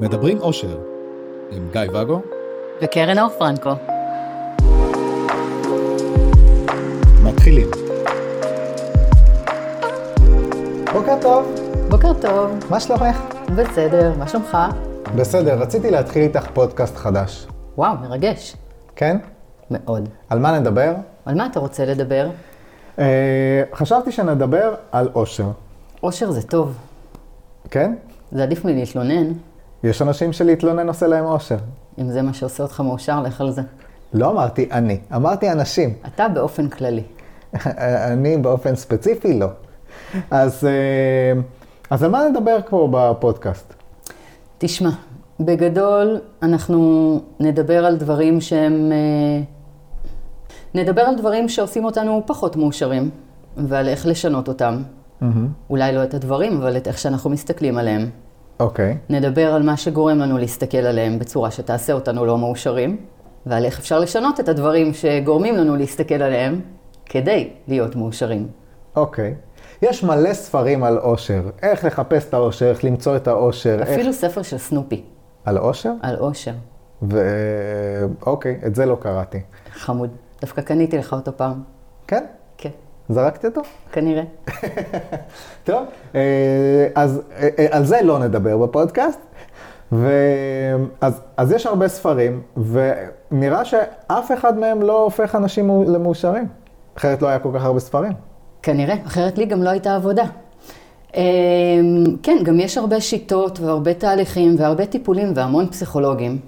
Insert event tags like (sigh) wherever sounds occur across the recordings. מדברים אושר, עם גיא ואגו וקרן אור פרנקו. מתחילים. בוקר טוב, בוקר טוב, מה שלומך? בסדר, מה שלומך? בסדר, רציתי להתחיל איתך פודקאסט חדש. וואו, מרגש. כן? מאוד. על מה נדבר? על מה אתה רוצה לדבר? אה, חשבתי שנדבר על אושר, אושר זה טוב, כן? זה עדיף מלהתלונן. יש אנשים שלהתלונן עושה להם אושר. אם זה מה שעושה אותך מאושר, לך על זה. לא אמרתי אני, אמרתי אנשים. (laughs) אתה באופן כללי. אני באופן ספציפי לא. אז, אה, אז על מה נדבר פה בפודקאסט? תשמע, בגדול אנחנו נדבר על דברים שהם... אה, נדבר על דברים שעושים אותנו פחות מאושרים, ועל איך לשנות אותם. אולי לא את הדברים, אבל את איך שאנחנו מסתכלים עליהם. אוקיי, נדבר על מה שגורם לנו להסתכל עליהם בצורה שתעשה אותנו לא מאושרים, ועל איך אפשר לשנות את הדברים שגורמים לנו להסתכל עליהם כדי להיות מאושרים. אוקיי. יש מלא ספרים על אושר, איך לחפש את האושר, איך למצוא את האושר, איך... אפילו ספר של סנופי על אושר? על אושר. ו... אוקיי, את זה לא קראתי. חמוד. דווקא קניתי לך אותו פעם. כן? כן, זרקתי אותו? כנראה. טוב, אה, אז אה, אה, על זה לא נדבר בפודקאסט. ו... אז, אז יש הרבה ספרים, ונראה שאף אחד מהם לא הופך אנשים מאו- למאושרים. אחרת לא היה כל כך הרבה ספרים. כנראה, אחרת לי גם לא הייתה עבודה. אמ, כן, גם יש הרבה שיטות והרבה תהליכים והרבה טיפולים והמון פסיכולוגים,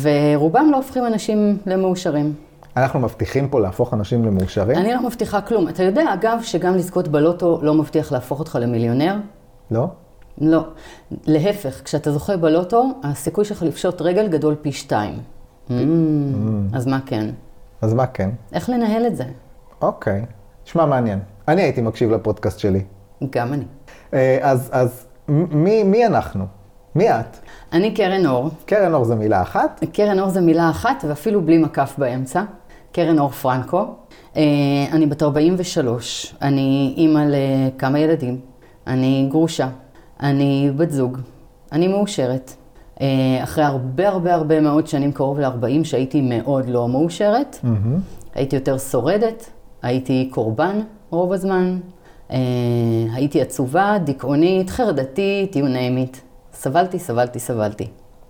ורובם לא הופכים אנשים למאושרים. אנחנו מבטיחים פה להפוך אנשים למאושרים? אני לא מבטיחה כלום. אתה יודע, אגב, שגם לזכות בלוטו לא מבטיח להפוך אותך למיליונר? לא? לא. להפך, כשאתה זוכה בלוטו, הסיכוי שלך לפשוט רגל גדול פי שתיים. Mm, אז מה כן? אז מה כן? איך לנהל את זה? אוקיי. נשמע מעניין. אני הייתי מקשיב לפודקאסט שלי. גם אני. אה, אז, אז מ- מי, מי אנחנו? מי את? אני קרן אור. קרן אור זה מילה אחת? קרן אור זה מילה אחת, ואפילו בלי מקף באמצע. קרן אור פרנקו. אה, אני בת 43, אני אימא לכמה ילדים, אני גרושה, אני בת זוג, אני מאושרת. אה, אחרי הרבה הרבה הרבה מאוד שנים, קרוב ל-40, שהייתי מאוד לא מאושרת, הייתי יותר שורדת, הייתי קורבן רוב הזמן, אה, הייתי עצובה, דיכאונית, חרדתית, you name it. סבלתי, סבלתי, סבלתי.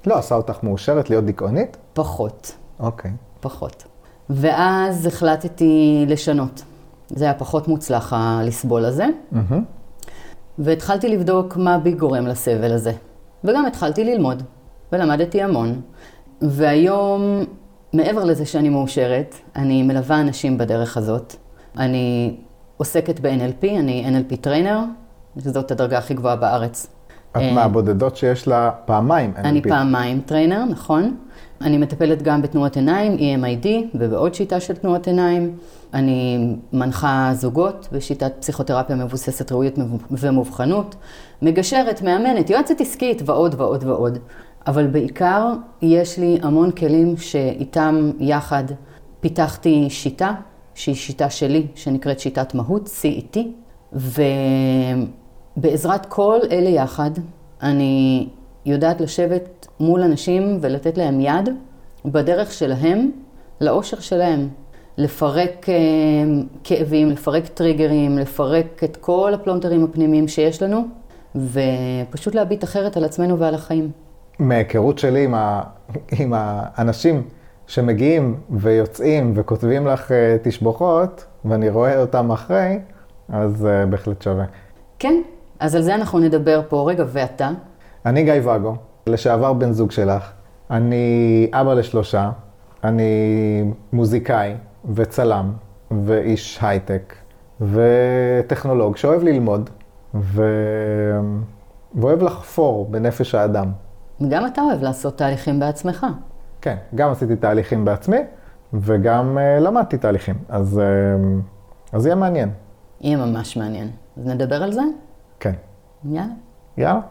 לא עשה אותך מאושרת להיות דיכאונית? פחות. אוקיי. פחות. ואז החלטתי לשנות. זה היה פחות מוצלח, הלסבול הזה. והתחלתי לבדוק מה בי גורם לסבל הזה. וגם התחלתי ללמוד, ולמדתי המון. והיום, מעבר לזה שאני מאושרת, אני מלווה אנשים בדרך הזאת. אני עוסקת ב-NLP, אני NLP טריינר, שזאת הדרגה הכי גבוהה בארץ. את אה, מהבודדות שיש לה פעמיים NLP. אני פעמיים טריינר, נכון. אני מטפלת גם בתנועות עיניים, E EMID, ובעוד שיטה של תנועות עיניים. אני מנחה זוגות בשיטת פסיכותרפיה מבוססת ראויות ומובחנות. מגשרת, מאמנת, יועצת עסקית ועוד ועוד ועוד. אבל בעיקר יש לי המון כלים שאיתם יחד פיתחתי שיטה, שהיא שיטה שלי, שנקראת שיטת מהות, E CET, ובעזרת כל אלה יחד, אני יודעת לשבת מול אנשים ולתת להם יד בדרך שלהם, לאושר שלהם. לפרק אה, כאבים, לפרק טריגרים, לפרק את כל הפלונטרים הפנימיים שיש לנו, ופשוט להביט אחרת על עצמנו ועל החיים. מההיכרות שלי עם, ה... עם האנשים שמגיעים ויוצאים וכותבים לך אה, תשבחות, ואני רואה אותם אחרי, אז אה, בהחלט שווה. כן, אז על זה אנחנו נדבר פה. רגע, ואתה? אני גיא ואגו, לשעבר בן זוג שלך. אני אבא לשלושה, אני מוזיקאי וצלם ואיש הייטק וטכנולוג שאוהב ללמוד ו... ואוהב לחפור בנפש האדם. גם אתה אוהב לעשות תהליכים בעצמך. כן, גם עשיתי תהליכים בעצמי וגם uh, למדתי תהליכים, אז, uh, אז יהיה מעניין. יהיה ממש מעניין. אז נדבר על זה? כן. יאללה. יאללה.